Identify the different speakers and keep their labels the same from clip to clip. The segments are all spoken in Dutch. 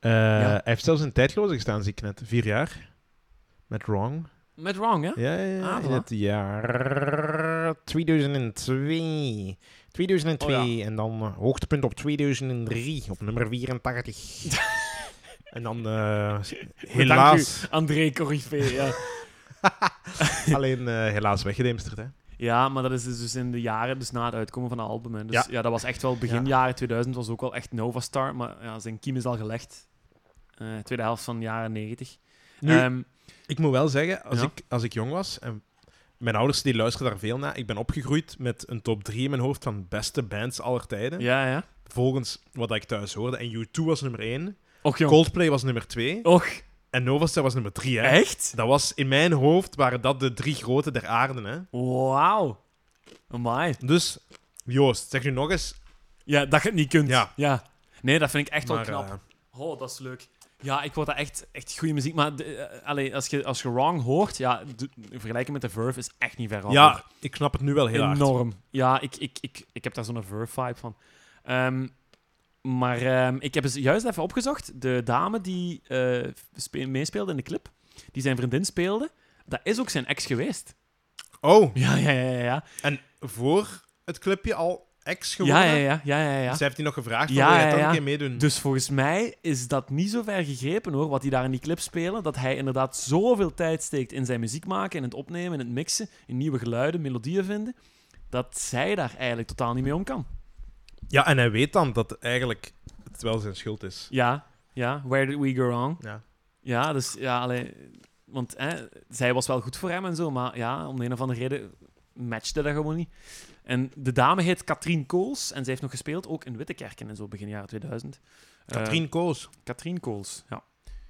Speaker 1: Eh,
Speaker 2: Ja.
Speaker 1: Hij heeft zelfs in tijdloze gestaan, zie ik net. Vier jaar. Met Wrong.
Speaker 2: Met Wrong, hè?
Speaker 1: Ja, ja, ja,
Speaker 2: Ah,
Speaker 1: in
Speaker 2: voilà.
Speaker 1: het jaar 2002. 2002
Speaker 2: Oh,
Speaker 1: en dan eh, hoogtepunt op 2003, op nummer 84. en dan eh, helaas,
Speaker 2: André Corrivé, ja.
Speaker 1: alleen eh, helaas weggedemsterd. Hè?
Speaker 2: ja, maar dat is dus- dus in de jaren, dus na het uitkomen van het album. Hè. Dus ja.
Speaker 1: Ja.
Speaker 2: dat was echt wel begin
Speaker 1: Ja.
Speaker 2: jaren 2000, was ook wel echt Nova Star, maar ja, zijn kiem is al gelegd. Eh, tweede helft van de jaren 90.
Speaker 1: Nu,
Speaker 2: Ehm,
Speaker 1: ik moet wel zeggen, als,
Speaker 2: Ja.
Speaker 1: ik, als ik jong was, en mijn ouders die luisteren daar veel naar, ik ben opgegroeid met een top 3 in mijn hoofd van beste bands aller tijden.
Speaker 2: ja, ja.
Speaker 1: Volgens wat ik thuis hoorde. En U2 was nummer 1,
Speaker 2: Och, jong.
Speaker 1: Coldplay was nummer 2
Speaker 2: Och,
Speaker 1: en Nova Star was nummer 3. Hè?
Speaker 2: echt?
Speaker 1: Dat was, in mijn hoofd waren dat de drie grote der aarde. Hè?
Speaker 2: Wauw. Amai.
Speaker 1: Dus, Joost, zeg nu nog eens.
Speaker 2: Ja, dat je het niet kunt.
Speaker 1: Ja.
Speaker 2: Nee, dat vind ik echt wel
Speaker 1: maar,
Speaker 2: knap.
Speaker 1: eh,
Speaker 2: Oh, dat is leuk. Ja, ik word dat echt, echt goede muziek. Maar de, eh, allee, als, je, als je Wrong hoort, ja, de- vergelijken met de Verve is echt niet ver af.
Speaker 1: ja, ik snap het nu wel heel
Speaker 2: hoor.
Speaker 1: hard.
Speaker 2: enorm. Ja, ik, ik, ik, ik heb daar zo'n Verve-vibe van. Ehm, maar ehm, ik heb eens juist even opgezocht. De dame die eh, spe- meespeelde in de clip, die zijn vriendin speelde, dat is ook zijn ex geweest.
Speaker 1: Oh,
Speaker 2: Ja, ja, ja, ja. Ja,
Speaker 1: en voor het clubje al ex geworden?
Speaker 2: ja, ja. ja, ja, ja, ja.
Speaker 1: Dus hij heeft die nog gevraagd,
Speaker 2: Ja,
Speaker 1: ja, wil jij
Speaker 2: ja,
Speaker 1: dan
Speaker 2: ja.
Speaker 1: een keer meedoen?
Speaker 2: Dus volgens mij is dat niet zo ver gegrepen hoor, wat hij daar in die clip spelen. Dat hij inderdaad zoveel tijd steekt in zijn muziek maken, in het opnemen, in het mixen, in nieuwe geluiden, melodieën vinden. Dat zij daar eigenlijk totaal niet mee om kan.
Speaker 1: Ja, en hij weet dan dat eigenlijk het wel zijn schuld is.
Speaker 2: Ja, ja. Where did we go wrong?
Speaker 1: Ja.
Speaker 2: Ja, dus ja, alleen. Want hè, zij was wel goed voor hem en zo, maar ja, om de een of andere reden matchte dat gewoon niet. En de dame heet Katrien Kools en zij heeft nog gespeeld ook in Wittekerken en zo begin jaren 2000. Eh,
Speaker 1: Katrien Koos.
Speaker 2: Katrien Kools, ja.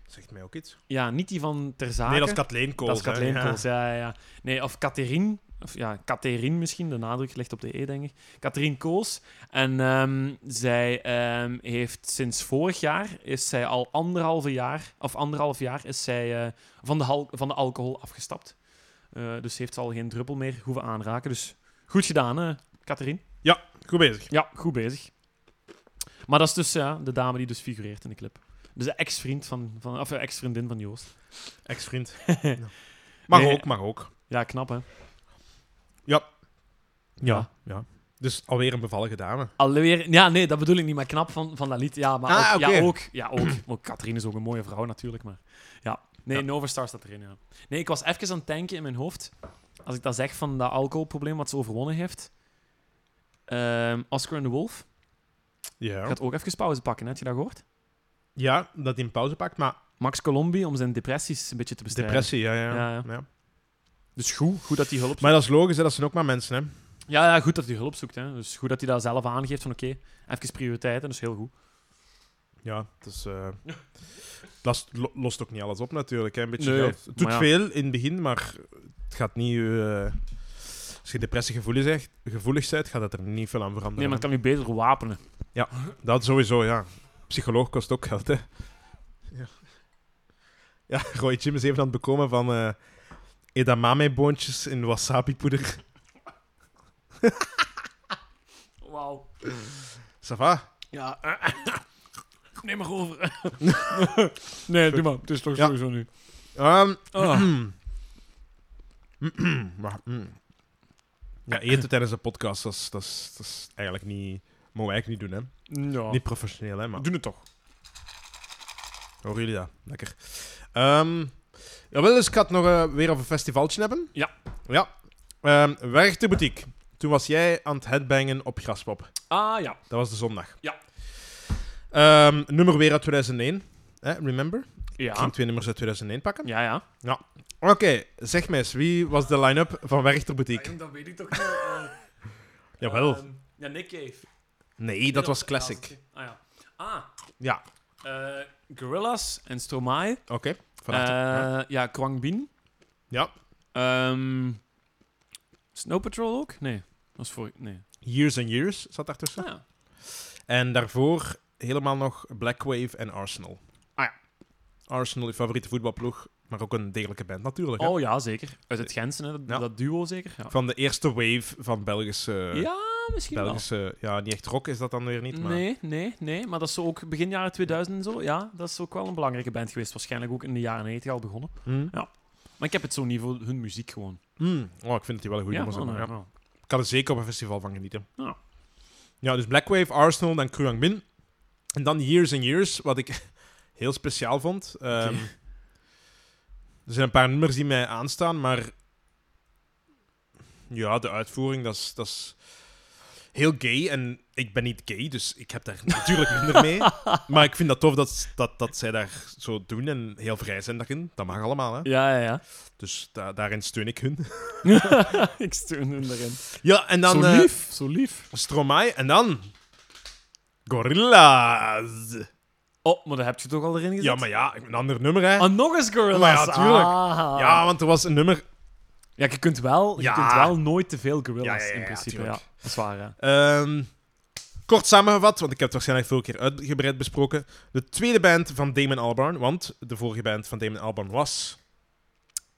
Speaker 1: Zegt mij ook iets.
Speaker 2: Ja, niet die van Ter Zake.
Speaker 1: Nee, dat is Kathleen Koos.
Speaker 2: Dat is Kathleen
Speaker 1: hè.
Speaker 2: Kools, ja, ja, ja. Nee, of Catherine. Of ja, Catherine misschien. De nadruk ligt op de E, denk ik. Catherine Kools. En ehm, zij ehm, heeft sinds vorig jaar, is zij al anderhalve jaar, of anderhalf jaar, is zij eh, van, de hal- van de alcohol afgestapt. Eh, dus heeft ze al geen druppel meer hoeven aanraken. Dus goed gedaan, eh Catherine.
Speaker 1: Ja. Goed bezig.
Speaker 2: Ja, goed bezig. Maar dat is dus ja, de dame die dus figureert in de clip. Dus de ex-vriend van, van, of eh, ex-vriendin van Joost.
Speaker 1: Ex-vriend. Ja. Mag
Speaker 2: Nee.
Speaker 1: ook, mag ook.
Speaker 2: Ja, knap hè. Ja.
Speaker 1: Ja. ja. Dus alweer een bevallige dame.
Speaker 2: Alweer, ja, nee, dat bedoel ik niet, maar knap van, van dat lied. Ja, maar
Speaker 1: Ah,
Speaker 2: ook, ja,
Speaker 1: oké.
Speaker 2: ook, ja, ook. Maar Katrien is ook een mooie vrouw natuurlijk, maar ja. Nee,
Speaker 1: Ja.
Speaker 2: Nova Star staat erin, ja. Nee, ik was even aan het denken in mijn hoofd, als ik dat zeg van dat alcoholprobleem wat ze overwonnen heeft. Ehm, Oscar en de Wolf
Speaker 1: Ja.
Speaker 2: gaat ook even pauze pakken, hè? had je dat gehoord?
Speaker 1: Ja, dat hij een pauze pakt, maar
Speaker 2: Max Colombi om zijn depressies een beetje te bestrijden.
Speaker 1: depressie, ja, ja.
Speaker 2: Ja, ja.
Speaker 1: Ja.
Speaker 2: Dus goed, goed dat hij hulp zoekt.
Speaker 1: Maar dat is logisch, hè, dat zijn ook maar mensen, hè.
Speaker 2: Ja, ja, goed dat hij hulp zoekt, hè. Dus goed dat hij dat zelf aangeeft van oké, even prioriteiten, dat is heel goed.
Speaker 1: Ja, dus... eh dat is- lo- lost ook niet alles op, natuurlijk, hè. Een beetje
Speaker 2: Nee,
Speaker 1: geld. Het doet
Speaker 2: maar ja.
Speaker 1: veel in het begin, maar het gaat niet... eh, als je depressiegevoelig bent, gevoelig bent, gaat dat er niet veel aan veranderen.
Speaker 2: Nee, maar het kan nu beter wapenen.
Speaker 1: Dat sowieso, ja. Psycholoog kost ook geld, hè. Ja, ja Roy Jim is even aan het bekomen van eh edamame-boontjes in wasabi-poeder.
Speaker 2: Wauw.
Speaker 1: Ça va?
Speaker 2: Ja. Neem maar over. nee, doe maar. Het is toch
Speaker 1: Ja.
Speaker 2: sowieso nu.
Speaker 1: Ehm,
Speaker 2: Ah.
Speaker 1: Maar, mm. Ja, eten tijdens een podcast, dat is, dat is, dat is eigenlijk niet... Mogen we eigenlijk niet doen, hè.
Speaker 2: Ja.
Speaker 1: Niet professioneel, hè, maar...
Speaker 2: Doe Oh. het toch.
Speaker 1: Horen jullie dat? Lekker. Ehm jawel, dus ik had nog eh, weer over een festivaltje hebben.
Speaker 2: Ja.
Speaker 1: Ja. Ehm Werk de boutique. Toen was jij aan het headbangen op Graspop.
Speaker 2: Ah ja.
Speaker 1: Dat was de zondag.
Speaker 2: Ja.
Speaker 1: Ehm, nummer weer uit 2001. Hè, remember? Ik
Speaker 2: Ja.
Speaker 1: ging twee nummers uit 2001 pakken.
Speaker 2: Ja, ja.
Speaker 1: Oké, zeg mij eens, wie was de line-up van Werchter Boutique?
Speaker 2: Ehm, dat weet ik toch niet. eh,
Speaker 1: Jawel.
Speaker 2: ehm, ja, Nick Cave.
Speaker 1: nee, dat was classic.
Speaker 2: Ah ja. Ah.
Speaker 1: Ja.
Speaker 2: eh, Gorillas en Stromae.
Speaker 1: Oké, van harte. ja.
Speaker 2: Eh, ja, Kwang Bin.
Speaker 1: Ja.
Speaker 2: Ehm, Snow Patrol ook? Nee. Dat was voor... Nee.
Speaker 1: Years and Years zat daartussen.
Speaker 2: Ah, ja.
Speaker 1: En daarvoor helemaal nog Black Wave en Arsenal.
Speaker 2: Ah ja.
Speaker 1: Arsenal, je favoriete voetbalploeg, maar ook een degelijke band natuurlijk. hè.
Speaker 2: Oh ja, zeker. Uit het Gensen, hè. Dat,
Speaker 1: Eh, Ja.
Speaker 2: dat duo zeker. Oh, Ja.
Speaker 1: Van de eerste wave van Belgische...
Speaker 2: Ja, misschien wel.
Speaker 1: Belgische... Ja, niet echt rock is dat dan weer niet, maar...
Speaker 2: Nee, nee, nee. Maar dat is zo ook begin jaren 2000 en zo. Ja, dat is ook wel een belangrijke band geweest. Waarschijnlijk ook in de jaren 90 al begonnen.
Speaker 1: Hm?
Speaker 2: Maar ik heb het zo niet voor hun muziek gewoon.
Speaker 1: Hm. Oh, ik vind dat die wel een goede
Speaker 2: ja,
Speaker 1: nummers
Speaker 2: oh,
Speaker 1: hebben,
Speaker 2: nou,
Speaker 1: ja.
Speaker 2: nou.
Speaker 1: Ik kan er zeker op een festival van genieten.
Speaker 2: Ja.
Speaker 1: Ja, dus Blackwave, Arsenal, dan Kruang Min. En dan Years and Years, wat ik heel speciaal vond. Ehm,
Speaker 2: Oké.
Speaker 1: Er zijn een paar nummers die mij aanstaan, maar... Ja, de uitvoering, dat is- dat is heel gay. En ik ben niet gay, dus ik heb daar natuurlijk minder mee. Maar ik vind dat tof dat, dat, dat zij daar zo doen en heel vrij zijn daarin. Dat mag allemaal, hè.
Speaker 2: Ja, ja,
Speaker 1: Dus da- daarin steun ik hun.
Speaker 2: ja. ik steun hun erin.
Speaker 1: Ja, en dan...
Speaker 2: zo
Speaker 1: eh,
Speaker 2: lief, zo lief.
Speaker 1: Stromae en dan. Gorilla's.
Speaker 2: Oh, maar dat heb je toch al erin gezet?
Speaker 1: Ja, maar ja, een ander nummer, hè?
Speaker 2: Ah, nog eens Gorillaz.
Speaker 1: Maar ja, tuurlijk.
Speaker 2: Ah.
Speaker 1: Ja, want er was een nummer.
Speaker 2: Ja, je kunt wel,
Speaker 1: Ja.
Speaker 2: je kunt wel nooit te veel Gorillaz
Speaker 1: Ja, ja, ja,
Speaker 2: in
Speaker 1: ja,
Speaker 2: principe. Ja, Eh,
Speaker 1: tuurlijk.
Speaker 2: dat is waar, ja.
Speaker 1: Ehm, kort samengevat, want ik heb het waarschijnlijk veel keer uitgebreid besproken. De tweede band van Damon Albarn, want de vorige band van Damon Albarn was.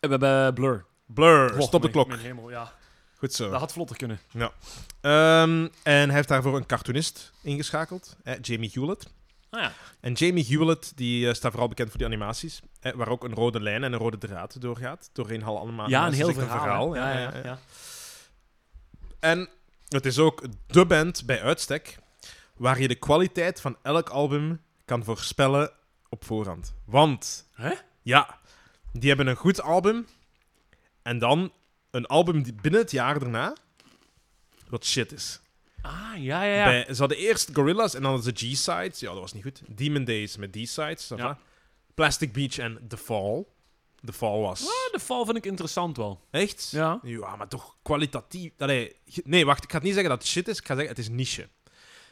Speaker 2: We hebben eh, Blur.
Speaker 1: Blur,
Speaker 2: Oh,
Speaker 1: stop de
Speaker 2: mijn-
Speaker 1: klok.
Speaker 2: Mijn hemel, ja.
Speaker 1: Goed zo.
Speaker 2: Dat had vlotter kunnen.
Speaker 1: Ehm, en hij heeft daarvoor een cartoonist ingeschakeld, eh, Jamie Hewlett.
Speaker 2: Ah ja.
Speaker 1: En Jamie Hewlett die, eh, staat vooral bekend voor die animaties, eh, waar ook een rode lijn en een rode draad doorgaat. Doorheen alle anima-
Speaker 2: ja, dus een
Speaker 1: animaties.
Speaker 2: heel
Speaker 1: is echt
Speaker 2: verhaal. hè.
Speaker 1: Ja,
Speaker 2: ja,
Speaker 1: ja, ja. En het is ook de band bij uitstek waar je de kwaliteit van elk album kan voorspellen op voorhand. Want,
Speaker 2: Hè?
Speaker 1: ja, die hebben een goed album en dan een album die binnen het jaar daarna wat shit is.
Speaker 2: Ah, ja, ja, ja.
Speaker 1: Bij- ze hadden eerst Gorillas en dan hadden ze G-Sides. Ja, dat was niet goed. Demon Days met D-Sides. ça va.
Speaker 2: Ja.
Speaker 1: Plastic Beach en The Fall. The Fall was...
Speaker 2: Ah, de val vind ik interessant wel.
Speaker 1: Echt?
Speaker 2: Ja.
Speaker 1: Ja, maar toch kwalitatief. Allee, ge- nee, wacht. Ik ga niet zeggen dat het shit is. Ik ga zeggen, het is niche.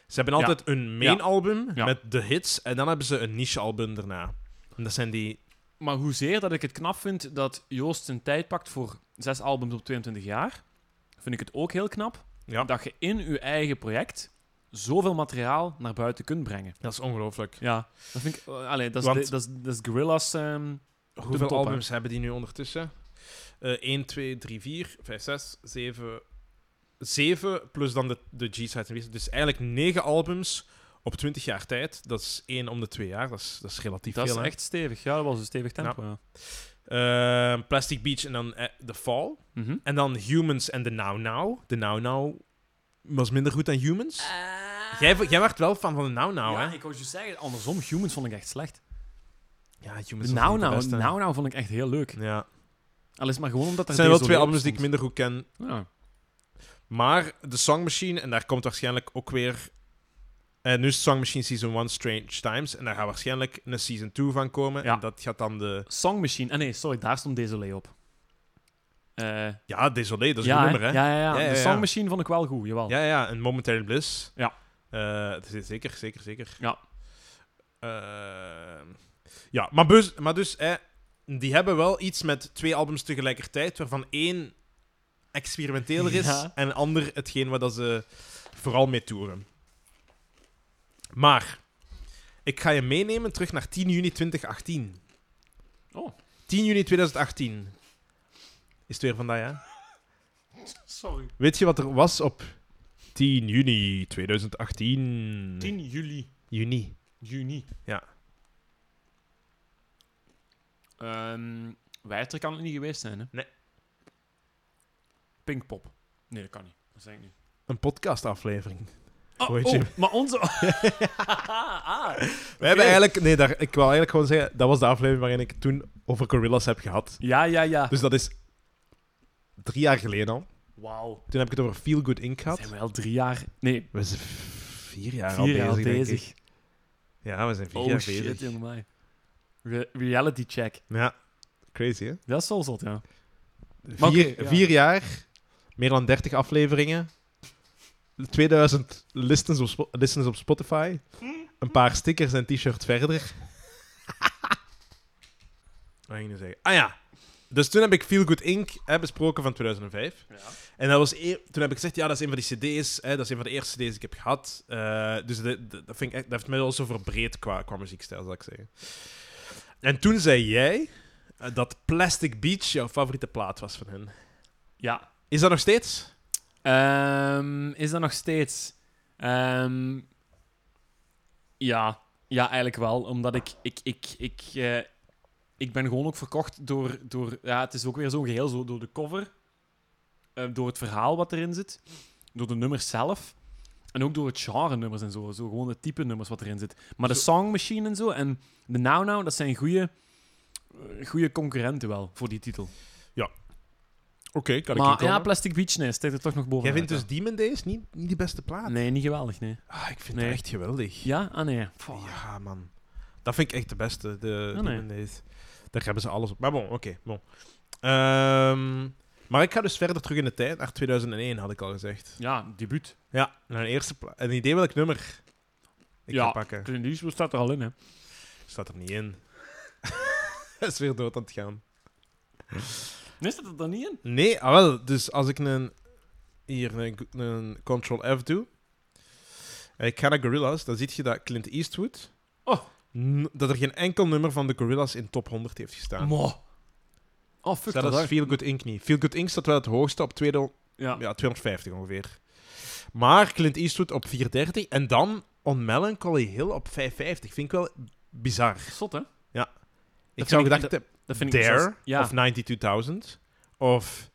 Speaker 1: Ze hebben altijd een main
Speaker 2: Ja.
Speaker 1: album
Speaker 2: Ja.
Speaker 1: met de hits. En dan hebben ze een niche album daarna. En dat zijn die...
Speaker 2: Maar hoezeer dat ik het knap vind dat Joost zijn tijd pakt voor zes albums op 22 jaar, vind ik het ook heel knap
Speaker 1: Ja.
Speaker 2: dat je in je eigen project zoveel materiaal naar buiten kunt brengen.
Speaker 1: Dat is ongelooflijk.
Speaker 2: Ja, dat vind ik... eh, allee, dat is,
Speaker 1: Want-
Speaker 2: de- dat is, dat is Gorillaz... ehm,
Speaker 1: Hoeveel
Speaker 2: top, hè?
Speaker 1: albums hebben die nu ondertussen? Eh 1, 2, 3, 4, 5, 6, 7... 7 plus dan de, de G-sides. en B's. Dus eigenlijk 9 albums op 20 jaar tijd. Dat is één om de 2 jaar. Dat is, dat is relatief
Speaker 2: dat
Speaker 1: veel.
Speaker 2: is
Speaker 1: hè?
Speaker 2: echt stevig. Ja, dat was een stevig tempo, ja.
Speaker 1: Eh, Plastic Beach en dan eh, The Fall.
Speaker 2: Mhm.
Speaker 1: En dan Humans en de Now Now. De Now Now was minder goed dan Humans. jij, jij werd wel fan van de Now Now,
Speaker 2: Eh, ja,
Speaker 1: Nou, hè?
Speaker 2: ik wou je zeggen, andersom, Humans vond ik echt slecht.
Speaker 1: Ja, Humans was
Speaker 2: Nou,
Speaker 1: niet de
Speaker 2: nou,
Speaker 1: beste.
Speaker 2: nou, nou vond ik echt heel leuk.
Speaker 1: Ja.
Speaker 2: Al is maar gewoon omdat er
Speaker 1: Het zijn wel
Speaker 2: deze
Speaker 1: twee
Speaker 2: leuk
Speaker 1: albums die ik
Speaker 2: stond.
Speaker 1: minder goed ken.
Speaker 2: Ja.
Speaker 1: Maar de Song Machine, en daar komt waarschijnlijk ook weer... En nu is Song Machine Season 1 Strange Times. En daar gaat waarschijnlijk een Season 2 van komen.
Speaker 2: Ja.
Speaker 1: En dat gaat dan de...
Speaker 2: Song Machine. Ah nee, sorry, daar stond Desolé op. Eh,
Speaker 1: Ja, Désolé, dat is
Speaker 2: ja,
Speaker 1: een nummer, hè?
Speaker 2: Ja, ja, ja.
Speaker 1: Ja, ja,
Speaker 2: De
Speaker 1: ja.
Speaker 2: Song Machine vond ik wel goed, jawel.
Speaker 1: Ja, ja, en Momentary Bliss.
Speaker 2: Ja.
Speaker 1: Eh, het is- zeker, zeker, zeker.
Speaker 2: Ja.
Speaker 1: Eh, ja, maar, bus, maar dus, eh, die hebben wel iets met twee albums tegelijkertijd, waarvan één experimenteler is
Speaker 2: Ja.
Speaker 1: en ander hetgeen waar dat ze vooral mee toeren. Maar, ik ga je meenemen terug naar 10 juni 2018.
Speaker 2: Oh.
Speaker 1: 10 juni 2018. Is het weer vandaag, hè?
Speaker 2: Sorry.
Speaker 1: Weet je wat er was op 10 juni 2018?
Speaker 2: 10 juli.
Speaker 1: juni.
Speaker 2: Juni.
Speaker 1: Ja.
Speaker 2: Ehm Wijter kan het niet geweest zijn, hè?
Speaker 1: Nee.
Speaker 2: Pinkpop. Nee, dat kan niet. Dat zeg ik niet.
Speaker 1: Een podcastaflevering.
Speaker 2: Oh,
Speaker 1: Goeie
Speaker 2: oh,
Speaker 1: Jim.
Speaker 2: maar onze... ah,
Speaker 1: We hebben eigenlijk... Nee, daar, ik wil eigenlijk gewoon zeggen... Dat was de aflevering waarin ik het toen over gorillas heb gehad.
Speaker 2: ja, ja, ja.
Speaker 1: Dus dat is drie jaar geleden al.
Speaker 2: Wauw.
Speaker 1: Toen heb ik het over Feel Good Inc. gehad.
Speaker 2: Zijn we al drie jaar... Nee,
Speaker 1: We zijn vier jaar al
Speaker 2: vier jaar
Speaker 1: bezig, denk ik.
Speaker 2: bezig.
Speaker 1: Ja, we zijn vier
Speaker 2: Oh
Speaker 1: jaar
Speaker 2: shit,
Speaker 1: bezig.
Speaker 2: jongen. Re reality check.
Speaker 1: Ja, crazy, hè?
Speaker 2: Dat is wel zot, ja. Maar
Speaker 1: Vier,
Speaker 2: oké, ja.
Speaker 1: vier jaar, meer dan 30 afleveringen, 2000 listens op, Spo- listens op Spotify, een paar stickers en t-shirts verder. Wat ging ik nu zeggen? Ah ja, dus toen heb ik Feel Good Inc. Hè, besproken van 2005. En dat was eer- toen heb ik gezegd, ja, dat is een van die cd's, hè, dat is een van de eerste cd's die ik heb gehad. Eh, dus de- de- dat, vind ik echt, dat heeft mij wel zo verbreed qua, qua muziekstijl, zal ik zeggen. En toen zei jij eh, dat Plastic Beach jouw favoriete plaat was van hen.
Speaker 2: Ja.
Speaker 1: Is dat nog steeds?
Speaker 2: Ehm, is dat nog steeds? Ehm, ja. ja, eigenlijk wel. Omdat ik... Ik, ik, ik, eh, ik ben gewoon ook verkocht door... door ja, het is ook weer zo'n geheel. Zo, door de cover. eh, door het verhaal wat erin zit. Door de nummers zelf. En ook door het genre nummers en zo. zo gewoon het type nummers wat erin zit. Maar de
Speaker 1: Zo-
Speaker 2: Song Machine en zo en de Now Now, dat zijn goede... Goede concurrenten wel voor die titel.
Speaker 1: Oké, kan ik
Speaker 2: Maar
Speaker 1: inkomen.
Speaker 2: ja, Plastic Beach, nee, steekt er toch nog boven.
Speaker 1: Jij vindt dus Demon Days niet, niet die beste plaat?
Speaker 2: Nee, niet geweldig, nee.
Speaker 1: Ah, ik vind
Speaker 2: Nee.
Speaker 1: het echt geweldig.
Speaker 2: Ja? Ah, nee. Pff,
Speaker 1: Ja, man. Dat vind ik echt de beste, de
Speaker 2: Ah, nee.
Speaker 1: Demon Days. Daar hebben ze alles op. Maar bon, oké. bon. Ehm, maar ik ga dus verder terug in de tijd, naar 2001 had ik al gezegd.
Speaker 2: Ja, debuut.
Speaker 1: Ja, naar een eerste pla- Een idee welk nummer ik
Speaker 2: Ja.
Speaker 1: ga pakken.
Speaker 2: Clint Eastwood staat er al in, hè.
Speaker 1: Staat er niet in. Hij is weer dood aan het gaan.
Speaker 2: Nee, staat er dan niet in?
Speaker 1: Nee, ah, wel. Dus als ik een, hier een, een Ctrl F doe. En ik ga naar Gorillaz, dan zie je dat Clint Eastwood.
Speaker 2: Oh.
Speaker 1: n- dat er geen enkel nummer van de Gorillaz in top 100 heeft gestaan.
Speaker 2: Mo. Oh, fuck dat.
Speaker 1: Zelfs
Speaker 2: daar.
Speaker 1: Feel Good Inc. niet. Feel Good Inc. staat wel het hoogste op 200
Speaker 2: Ja.
Speaker 1: ja, 250 ongeveer. Maar Clint Eastwood op 430 en dan On Melancholy Hill op 550. Vind ik wel bizar.
Speaker 2: Zot, hè?
Speaker 1: Ik
Speaker 2: vind
Speaker 1: zou
Speaker 2: ik-
Speaker 1: gedacht hebben,
Speaker 2: Dat vind ik
Speaker 1: Dare
Speaker 2: zelfs- ja.
Speaker 1: of
Speaker 2: Of,
Speaker 1: 92000 of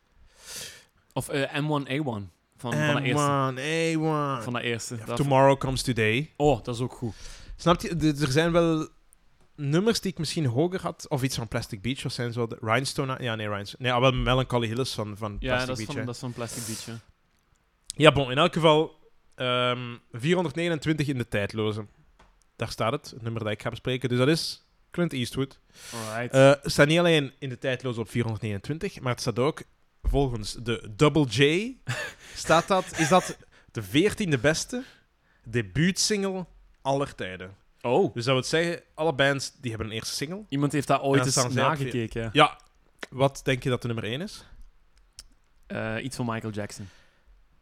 Speaker 2: eh, M1A1. Van, van de eerste.
Speaker 1: M1, A1.
Speaker 2: Van de eerste.
Speaker 1: Of
Speaker 2: Dat-
Speaker 1: Tomorrow Comes Today.
Speaker 2: Oh, dat is ook goed.
Speaker 1: Snap je? D- Er zijn wel nummers die ik misschien hoger had. Of iets van Plastic Beach of zijn zo. de- Rhinestone. Ja, nee, Rhinestone. Nee, ah, wel Melancholy Hill is van, van
Speaker 2: Ja,
Speaker 1: Plastic
Speaker 2: dat is,
Speaker 1: Beach.
Speaker 2: van,
Speaker 1: hè.
Speaker 2: dat is van Plastic Beach, hè.
Speaker 1: Ja, bon. In elk geval ehm, 429 in de tijdloze. Daar staat het, het nummer dat ik ga bespreken. Dus dat is Clint Eastwood.
Speaker 2: Alright.
Speaker 1: Eh, het staat niet alleen in de tijdloze op 429, maar het staat ook volgens de Double J. staat dat, is dat de 14e beste debuutsingle aller tijden.
Speaker 2: oh.
Speaker 1: Dus dat wil zeggen, alle bands die hebben een eerste single.
Speaker 2: Iemand heeft daar
Speaker 1: En
Speaker 2: ooit
Speaker 1: dan
Speaker 2: eens
Speaker 1: staan zij op
Speaker 2: nagekeken, ja.
Speaker 1: Ja, wat denk je dat de nummer 1 is?
Speaker 2: Eh, iets van Michael Jackson.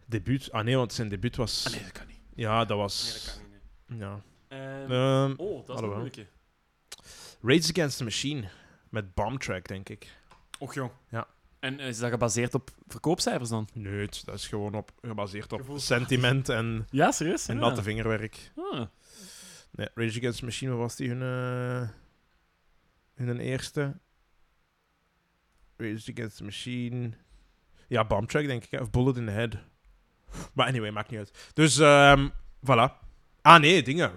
Speaker 1: Debuut? Ah nee, want zijn debuut was...
Speaker 2: Ah, nee, dat kan niet.
Speaker 1: Ja, dat was...
Speaker 2: niet,
Speaker 1: Ja.
Speaker 2: Ehm,
Speaker 1: Ehm,
Speaker 2: oh, dat is een
Speaker 1: alhoewel.
Speaker 2: moeilijke.
Speaker 1: Rage Against the Machine. Met Bomb Track, denk ik.
Speaker 2: Och, joh.
Speaker 1: Ja.
Speaker 2: En eh, is dat gebaseerd op verkoopcijfers dan?
Speaker 1: Nee, het- dat is gewoon op, gebaseerd op
Speaker 2: Gevoel.
Speaker 1: sentiment en,
Speaker 2: Ja, serieus?
Speaker 1: en
Speaker 2: ja.
Speaker 1: natte vingerwerk.
Speaker 2: Ah.
Speaker 1: Nee, Rage Against the Machine, wat was die hun... eh, hun eerste? Rage Against the Machine... Ja, Bomb Track, denk ik. hè, Of Bullet in the Head. Maar anyway, maakt niet uit. Dus, ehm voilà. Ah, nee, dingen.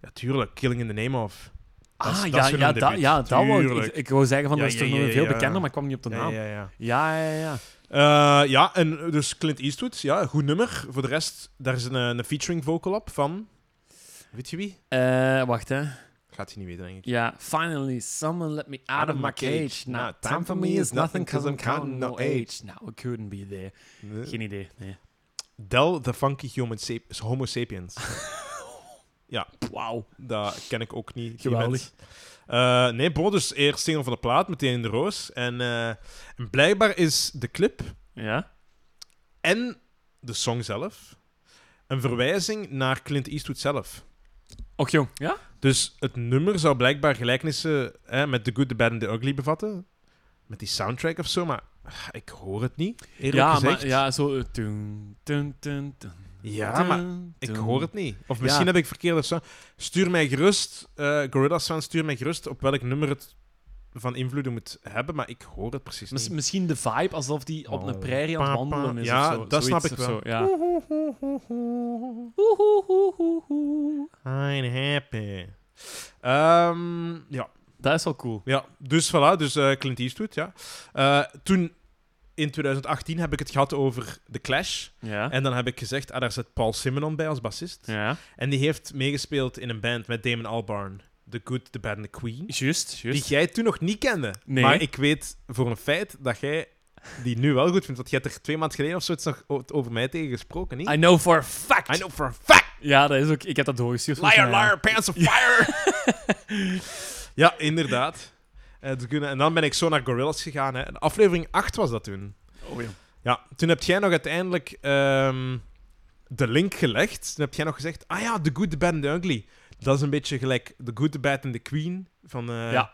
Speaker 1: Ja, tuurlijk. Killing in the Name of... Dat is-
Speaker 2: Ah,
Speaker 1: dat
Speaker 2: ja,
Speaker 1: is hun
Speaker 2: ja,
Speaker 1: debuut.
Speaker 2: da, ja, dat wou ik,
Speaker 1: Tuurlijk.
Speaker 2: ik. Ik wou zeggen, van,
Speaker 1: Ja,
Speaker 2: dat is
Speaker 1: ja,
Speaker 2: toch nog
Speaker 1: ja,
Speaker 2: een veel
Speaker 1: ja.
Speaker 2: bekender, maar ik kwam niet op de
Speaker 1: Ja,
Speaker 2: naam.
Speaker 1: ja, ja.
Speaker 2: Ja, ja, ja.
Speaker 1: Eh, ja, en eh, dus Clint Eastwood, ja, goed nummer. Voor de rest, daar is een, eh, een featuring vocal op van. Weet je wie?
Speaker 2: Eh, wacht, hè.
Speaker 1: Gaat hij niet weten, denk ik.
Speaker 2: Ja, finally, someone let me out of my cage. Now, time for me is nothing because I'm counting no age. Eh. Now, I couldn't be there. Geen idee, nee.
Speaker 1: Del the Funky Human Sap- is Homo Sapiens.
Speaker 2: Wauw.
Speaker 1: Dat ken ik ook niet. die
Speaker 2: Geweldig.
Speaker 1: mens. Eh, nee, bon, dus eerst single van de plaat, meteen in de roos. En, eh, en blijkbaar is de clip
Speaker 2: Ja?
Speaker 1: en de song zelf een verwijzing naar Clint Eastwood zelf.
Speaker 2: Och, jong. Ja?
Speaker 1: Dus het nummer zou blijkbaar gelijkenissen hè, met The Good, The Bad and The Ugly bevatten. Met die soundtrack of zo, maar ah, ik hoor het niet, eerlijk
Speaker 2: Ja,
Speaker 1: gezegd.
Speaker 2: maar, ja, zo... eh, Dun, dun, dun, dun,
Speaker 1: Ja, maar
Speaker 2: dun,
Speaker 1: ik
Speaker 2: dun.
Speaker 1: hoor het niet. Of misschien
Speaker 2: Ja.
Speaker 1: heb ik verkeerde sound. Stuur mij gerust, eh Gorillaz fans, stuur mij gerust op welk nummer het van invloed moet hebben, maar ik hoor het precies
Speaker 2: Miss-
Speaker 1: niet.
Speaker 2: misschien de vibe alsof die op een
Speaker 1: Oh.
Speaker 2: prairie aan het
Speaker 1: Pa, pa.
Speaker 2: wandelen is.
Speaker 1: Ja,
Speaker 2: of zo.
Speaker 1: dat snap
Speaker 2: Zoiets
Speaker 1: ik
Speaker 2: of
Speaker 1: wel.
Speaker 2: Zo, ja. Hoe, hoe, hoe, hoe, hoe.
Speaker 1: I'm happy. Ehm, ja,
Speaker 2: Dat is wel cool.
Speaker 1: Ja, dus voilà, dus eh, Clint Eastwood, ja. Eh, toen, in 2018, heb ik het gehad over The Clash.
Speaker 2: Ja.
Speaker 1: En dan heb ik gezegd, ah, daar zit Paul Simonon bij als bassist.
Speaker 2: Ja.
Speaker 1: En die heeft meegespeeld in een band met Damon Albarn. The Good, The Bad and The Queen.
Speaker 2: Juist,
Speaker 1: Die
Speaker 2: juist.
Speaker 1: jij toen nog niet kende.
Speaker 2: Nee.
Speaker 1: Maar ik weet voor een feit dat jij die nu wel goed vindt. Want jij hebt er twee maanden geleden of zoiets nog o- over mij tegen gesproken, niet?
Speaker 2: I know for a fact.
Speaker 1: I know for a fact!
Speaker 2: Ja, dat is ook, ik heb dat doorgestuurd.
Speaker 1: Liar,
Speaker 2: volgens mij.
Speaker 1: liar, pants on fire! ja, inderdaad. Eh, dus kunnen- en dan ben ik zo naar Gorillas gegaan. Hè. Aflevering 8 was dat toen.
Speaker 2: Oh, ja.
Speaker 1: Ja, toen heb jij nog uiteindelijk ehm, de link gelegd. Toen heb jij nog gezegd, ah ja, The Good, The Bad and The Ugly. Dat is een beetje gelijk The Good, The Bad and The Queen van, eh,
Speaker 2: Ja.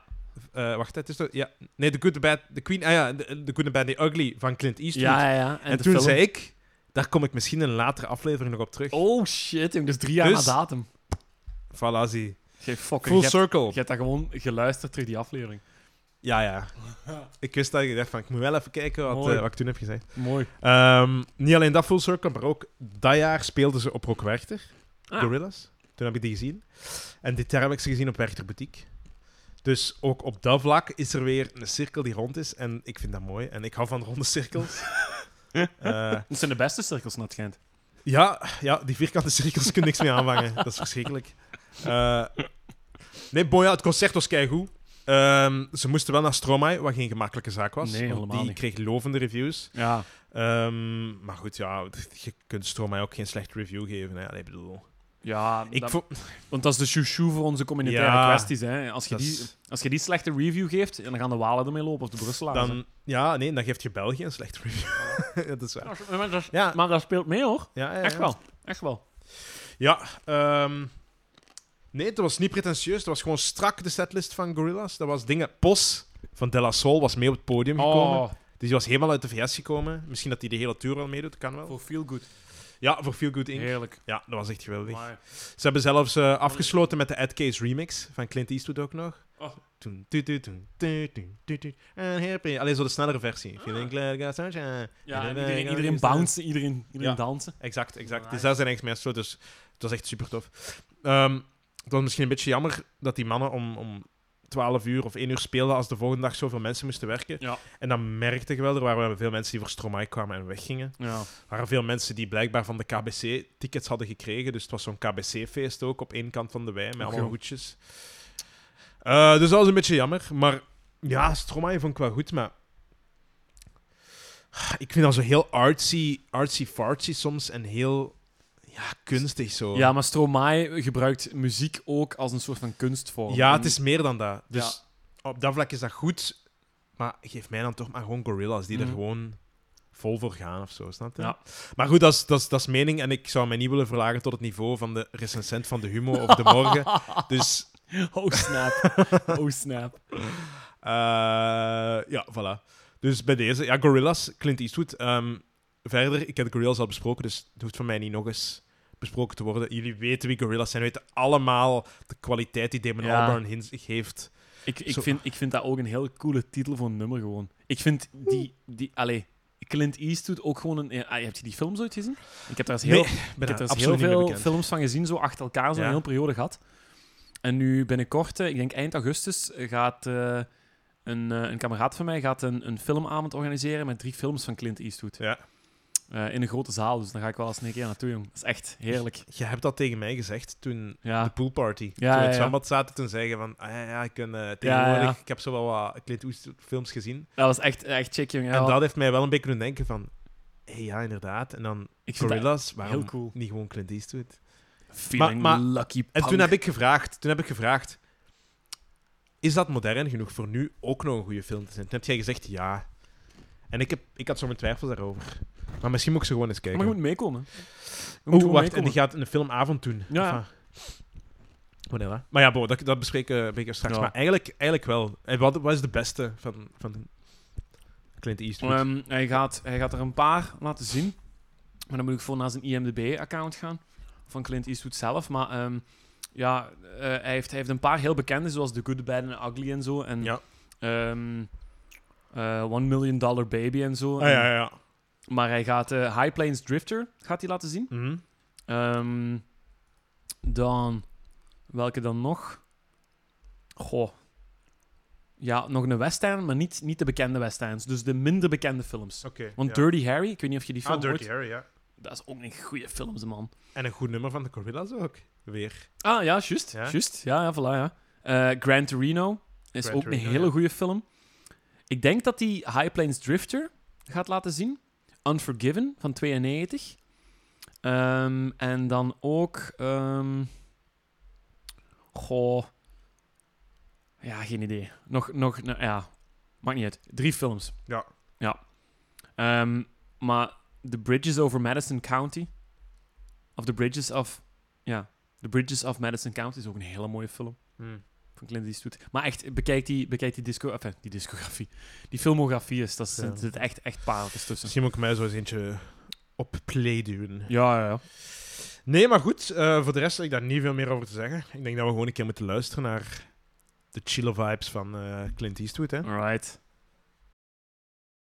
Speaker 1: eh, wacht, het is toch... Ja, nee, The Good, The Bad... The Queen... Ah ja, The, The Good, The Bad, The Ugly van Clint Eastwood.
Speaker 2: Ja, ja, ja.
Speaker 1: en
Speaker 2: de
Speaker 1: toen
Speaker 2: film.
Speaker 1: zei ik... Daar kom ik misschien in een latere aflevering nog op terug.
Speaker 2: Oh shit, jong, dus drie jaar
Speaker 1: Dus-
Speaker 2: na datum.
Speaker 1: Voilà, zie.
Speaker 2: Geen fucking
Speaker 1: Full
Speaker 2: je hebt-
Speaker 1: circle.
Speaker 2: Je hebt daar gewoon geluisterd terug die aflevering.
Speaker 1: Ja, ja. Ik wist dat. Ik dacht van, ik moet wel even kijken wat,
Speaker 2: Mooi.
Speaker 1: eh, wat ik toen heb gezegd.
Speaker 2: Mooi.
Speaker 1: Ehm, niet alleen dat Full Circle, maar ook dat jaar speelden ze op Rock Werchter,
Speaker 2: Ah.
Speaker 1: Gorillas. Toen heb ik die gezien. En dit jaar heb ik ze gezien op Werchter Boutique. Dus ook op dat vlak is er weer een cirkel die rond is. En ik vind dat mooi. En ik hou van ronde cirkels. Eh,
Speaker 2: Dat zijn de beste cirkels, naar het schijnt.
Speaker 1: ja, ja, die vierkante cirkels kun je niks mee aanvangen. Dat is verschrikkelijk. Eh, nee, Boya, het concert was keigoed. Ehm ze moesten wel naar Stromae, wat geen gemakkelijke zaak was.
Speaker 2: Nee,
Speaker 1: want
Speaker 2: helemaal
Speaker 1: die
Speaker 2: niet.
Speaker 1: kreeg lovende reviews.
Speaker 2: Ja.
Speaker 1: Ehm, maar goed, ja, je kunt Stromae ook geen slecht review geven. Hè. Allee, ik bedoel,
Speaker 2: Ja,
Speaker 1: ik
Speaker 2: dat-
Speaker 1: vond...
Speaker 2: want dat is de chouchou voor onze communautaire
Speaker 1: Ja,
Speaker 2: kwesties. Hè. Als, je
Speaker 1: dat
Speaker 2: die,
Speaker 1: is-
Speaker 2: als je die slechte review geeft, dan gaan de Walen ermee lopen of de Brusselaars.
Speaker 1: Dan, ja, nee, dan geeft je België een slecht review. dat is waar.
Speaker 2: hè. Maar, dat,
Speaker 1: Ja,
Speaker 2: maar dat speelt mee, hoor.
Speaker 1: ja, ja, ja.
Speaker 2: Echt wel. Echt wel.
Speaker 1: Ja, ehm, nee, het was niet pretentieus. Het was gewoon strak de setlist van Gorillaz. Dat was dingen... Pos van De La Soul was mee op het podium gekomen.
Speaker 2: Oh,
Speaker 1: Dus die was helemaal uit de VS gekomen. Misschien dat hij de hele tour al meedoet, kan wel.
Speaker 2: voor feel good.
Speaker 1: Ja, voor Feel Good Inc.
Speaker 2: Heerlijk.
Speaker 1: Ja, dat was echt geweldig.
Speaker 2: Maar-
Speaker 1: Ze hebben zelfs eh, afgesloten met de Ed Case remix van Clint Eastwood ook nog.
Speaker 2: Oh.
Speaker 1: Toen, tu, tu, tu, tu, tu, tu, tu, and happy. Alleen zo de snellere versie. Feeling glad, got sunshine.
Speaker 2: Ah. Ja,
Speaker 1: Da-da-da,
Speaker 2: en iedereen,
Speaker 1: got
Speaker 2: iedereen
Speaker 1: sunshine.
Speaker 2: bouncen, iedereen, iedereen
Speaker 1: Ja.
Speaker 2: dansen.
Speaker 1: Exact, exact.
Speaker 2: Nice.
Speaker 1: Dus daar zijn eigenlijk meer zo. Dus het was echt super tof. Ehm, het was misschien een beetje jammer dat die mannen om, om 12 uur of 1 uur speelden als de volgende dag zoveel mensen moesten werken.
Speaker 2: Ja.
Speaker 1: En dan merkte je wel, er waren veel mensen die voor Stromae kwamen en weggingen.
Speaker 2: Ja.
Speaker 1: Er waren veel mensen die blijkbaar van de KBC tickets hadden gekregen. Dus het was zo'n KBC-feest ook, op één kant van de wei, met
Speaker 2: Och,
Speaker 1: allemaal
Speaker 2: joh.
Speaker 1: hoedjes. Eh, dus dat was een beetje jammer. Maar ja, Stromae vond ik wel goed, maar... Ik vind dat zo heel artsy, artsy-fartsy soms en heel ja, kunstig zo.
Speaker 2: ja, maar Stromae gebruikt muziek ook als een soort van kunstvorm.
Speaker 1: Ja,
Speaker 2: En-
Speaker 1: het is meer dan dat. Dus op dat vlak is dat goed, maar geef mij dan toch maar gewoon gorillas die er
Speaker 2: Mhm.
Speaker 1: gewoon vol voor gaan of zo, snap je?
Speaker 2: Ja.
Speaker 1: Maar goed, dat is, dat, is, dat is mening en ik zou mij niet willen verlagen tot het niveau van de recensent van de Humo of de Morgen. Dus
Speaker 2: Oh snap. Oh snap.
Speaker 1: eh, ja, voilà. Dus bij deze, ja, gorillas, Clint Eastwood. Ehm, verder, ik heb de gorillas al besproken, dus het hoeft van mij niet nog eens besproken te worden. Jullie weten wie gorillas zijn, weten allemaal de kwaliteit die Damon
Speaker 2: Ja.
Speaker 1: Albarn hin- heeft.
Speaker 2: Ik, ik,
Speaker 1: Zo.
Speaker 2: vind, ik vind dat ook een heel coole titel voor een nummer gewoon. Ik vind die... die allee, Clint Eastwood ook gewoon een... eh, ah, heb je die films ooit gezien? Ik heb daar eens heel,
Speaker 1: Nee,
Speaker 2: ik
Speaker 1: ben
Speaker 2: heb daar
Speaker 1: daar
Speaker 2: eens
Speaker 1: absoluut niet mee
Speaker 2: heel veel
Speaker 1: bekend.
Speaker 2: films van gezien, zo achter elkaar, zo'n
Speaker 1: Ja.
Speaker 2: hele periode gehad. En nu binnenkort, eh, ik denk eind augustus, eh, gaat eh, een, eh, een kameraad van mij gaat een, een filmavond organiseren met drie films van Clint Eastwood.
Speaker 1: Ja.
Speaker 2: Eh, in een grote zaal, dus daar ga ik wel eens een keer naartoe, jong. Dat is echt heerlijk.
Speaker 1: Je hebt dat tegen mij gezegd toen de
Speaker 2: Ja,
Speaker 1: poolparty.
Speaker 2: Ah. Ja,
Speaker 1: toen we
Speaker 2: ja,
Speaker 1: het
Speaker 2: ja.
Speaker 1: zwembad zaten, toen zeggen van... Ah, ja, ja, ik, kan, eh, tegenwoordig,
Speaker 2: ja.
Speaker 1: ik heb zo wel wat Clint Eastwood films gezien.
Speaker 2: dat was echt, echt chic, jong. Ja,
Speaker 1: En dat heeft mij wel een beetje doen denken van... Hé, ja, inderdaad. En dan
Speaker 2: ik vind dat
Speaker 1: Gorillas, waarom
Speaker 2: heel cool.
Speaker 1: niet gewoon Clint Eastwood?
Speaker 2: feeling
Speaker 1: Maar-
Speaker 2: lucky
Speaker 1: En
Speaker 2: punk.
Speaker 1: toen heb ik gevraagd... Toen heb ik gevraagd... Is dat modern genoeg voor nu ook nog een goede film te zijn? Toen heb jij gezegd ja. En ik, heb, ik had zo mijn twijfels daarover. Maar misschien moet ik ze gewoon eens kijken.
Speaker 2: Maar je moet meekomen.
Speaker 1: Oeh, wacht, en die gaat een filmavond doen.
Speaker 2: Ja.
Speaker 1: Enfin, Wanneer, hè? Maar ja, bo, dat, dat bespreken we straks.
Speaker 2: Ja.
Speaker 1: Maar eigenlijk, eigenlijk wel. En Wat, wat is de beste van, van Clint Eastwood?
Speaker 2: Ehm, hij, gaat, hij gaat er een paar laten zien. Maar dan moet ik voor naar zijn IMDb-account gaan. Van Clint Eastwood zelf. Maar ehm, ja, eh, hij, heeft, hij heeft een paar heel bekende, zoals The Good, The Bad and the Ugly en zo. En
Speaker 1: Ja.
Speaker 2: ehm, eh, One Million Dollar Baby en zo.
Speaker 1: ah, ja, ja, ja.
Speaker 2: Maar hij gaat eh, High Plains Drifter gaat hij laten zien.
Speaker 1: Mhm.
Speaker 2: Ehm, dan, welke dan nog? Goh. Ja, nog een western, maar niet, niet de bekende westerns. Dus de minder bekende films.
Speaker 1: Oké.
Speaker 2: Want
Speaker 1: ja.
Speaker 2: Dirty Harry, ik weet niet of je die film
Speaker 1: Ah, Dirty
Speaker 2: ooit...
Speaker 1: Harry, ja.
Speaker 2: Dat is ook een goede film, ze man.
Speaker 1: En een goed nummer van de Gorillas ook. Weer.
Speaker 2: Ah, ja, juist.
Speaker 1: Ja?
Speaker 2: Juist. Ja, ja, voilà, ja. Eh, Gran Torino is
Speaker 1: Gran
Speaker 2: ook
Speaker 1: Torino,
Speaker 2: een hele
Speaker 1: ja.
Speaker 2: goede film. Ik denk dat die High Plains Drifter gaat laten zien. Unforgiven van 92. Ehm, en dan ook... ehm, goh... Ja, geen idee. Nog, nog, nou, ja. Maakt niet uit. Drie films.
Speaker 1: Ja.
Speaker 2: Ja. Ehm, maar The Bridges over Madison County. Of The Bridges of... Ja. The Bridges of Madison County is ook een hele mooie film.
Speaker 1: Hmm.
Speaker 2: van Clint Eastwood. Maar echt, bekijk die, bekijk die, disco, enfin, die discografie. Die filmografie is, dat is,
Speaker 1: Ja.
Speaker 2: er zitten echt, echt pareltjes tussen.
Speaker 1: Misschien moet ik mij zo eens eentje op play duwen.
Speaker 2: Ja, ja, ja.
Speaker 1: Nee, maar goed. eh, voor de rest heb ik daar niet veel meer over te zeggen. Ik denk dat we gewoon een keer moeten luisteren naar de chille vibes van eh, Clint Eastwood. Hè?
Speaker 2: Alright.